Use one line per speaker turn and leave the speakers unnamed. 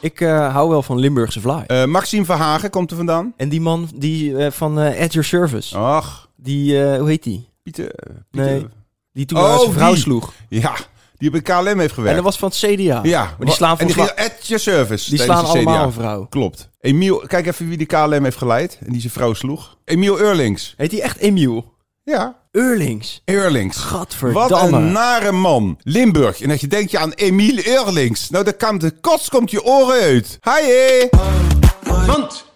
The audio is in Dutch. Ik eh, hou wel van Limburgse vlaai.
Eh, Maxime Verhagen komt er vandaan.
En die man die, eh, van eh, At Your
Oh.
Service,
Ach,
die, eh, hoe heet die?
Pieter. eh, Pieter.
Nee. Die toen
Oh,
haar zijn vrouw
die.
sloeg.
Ja, die bij KLM heeft
En
gewerkt.
dat was van het CDA.
ja,
Maar die slaan,
en die
volgens
ging at your service.
mij- die
tijdens
slaan
de
allemaal
CDA.
een vrouw.
Klopt. Emiel, kijk even wie de KLM heeft geleid en die zijn vrouw sloeg. Emiel Eurlings.
Heet die echt Emiel?
Ja,
Eurlings.
Eurlings.
Gadverdamme.
Wat een nare man. Limburg. En dat je denkt je aan Emiel Eurlings. Nou, dat kan de kots komt je oren uit. Hi,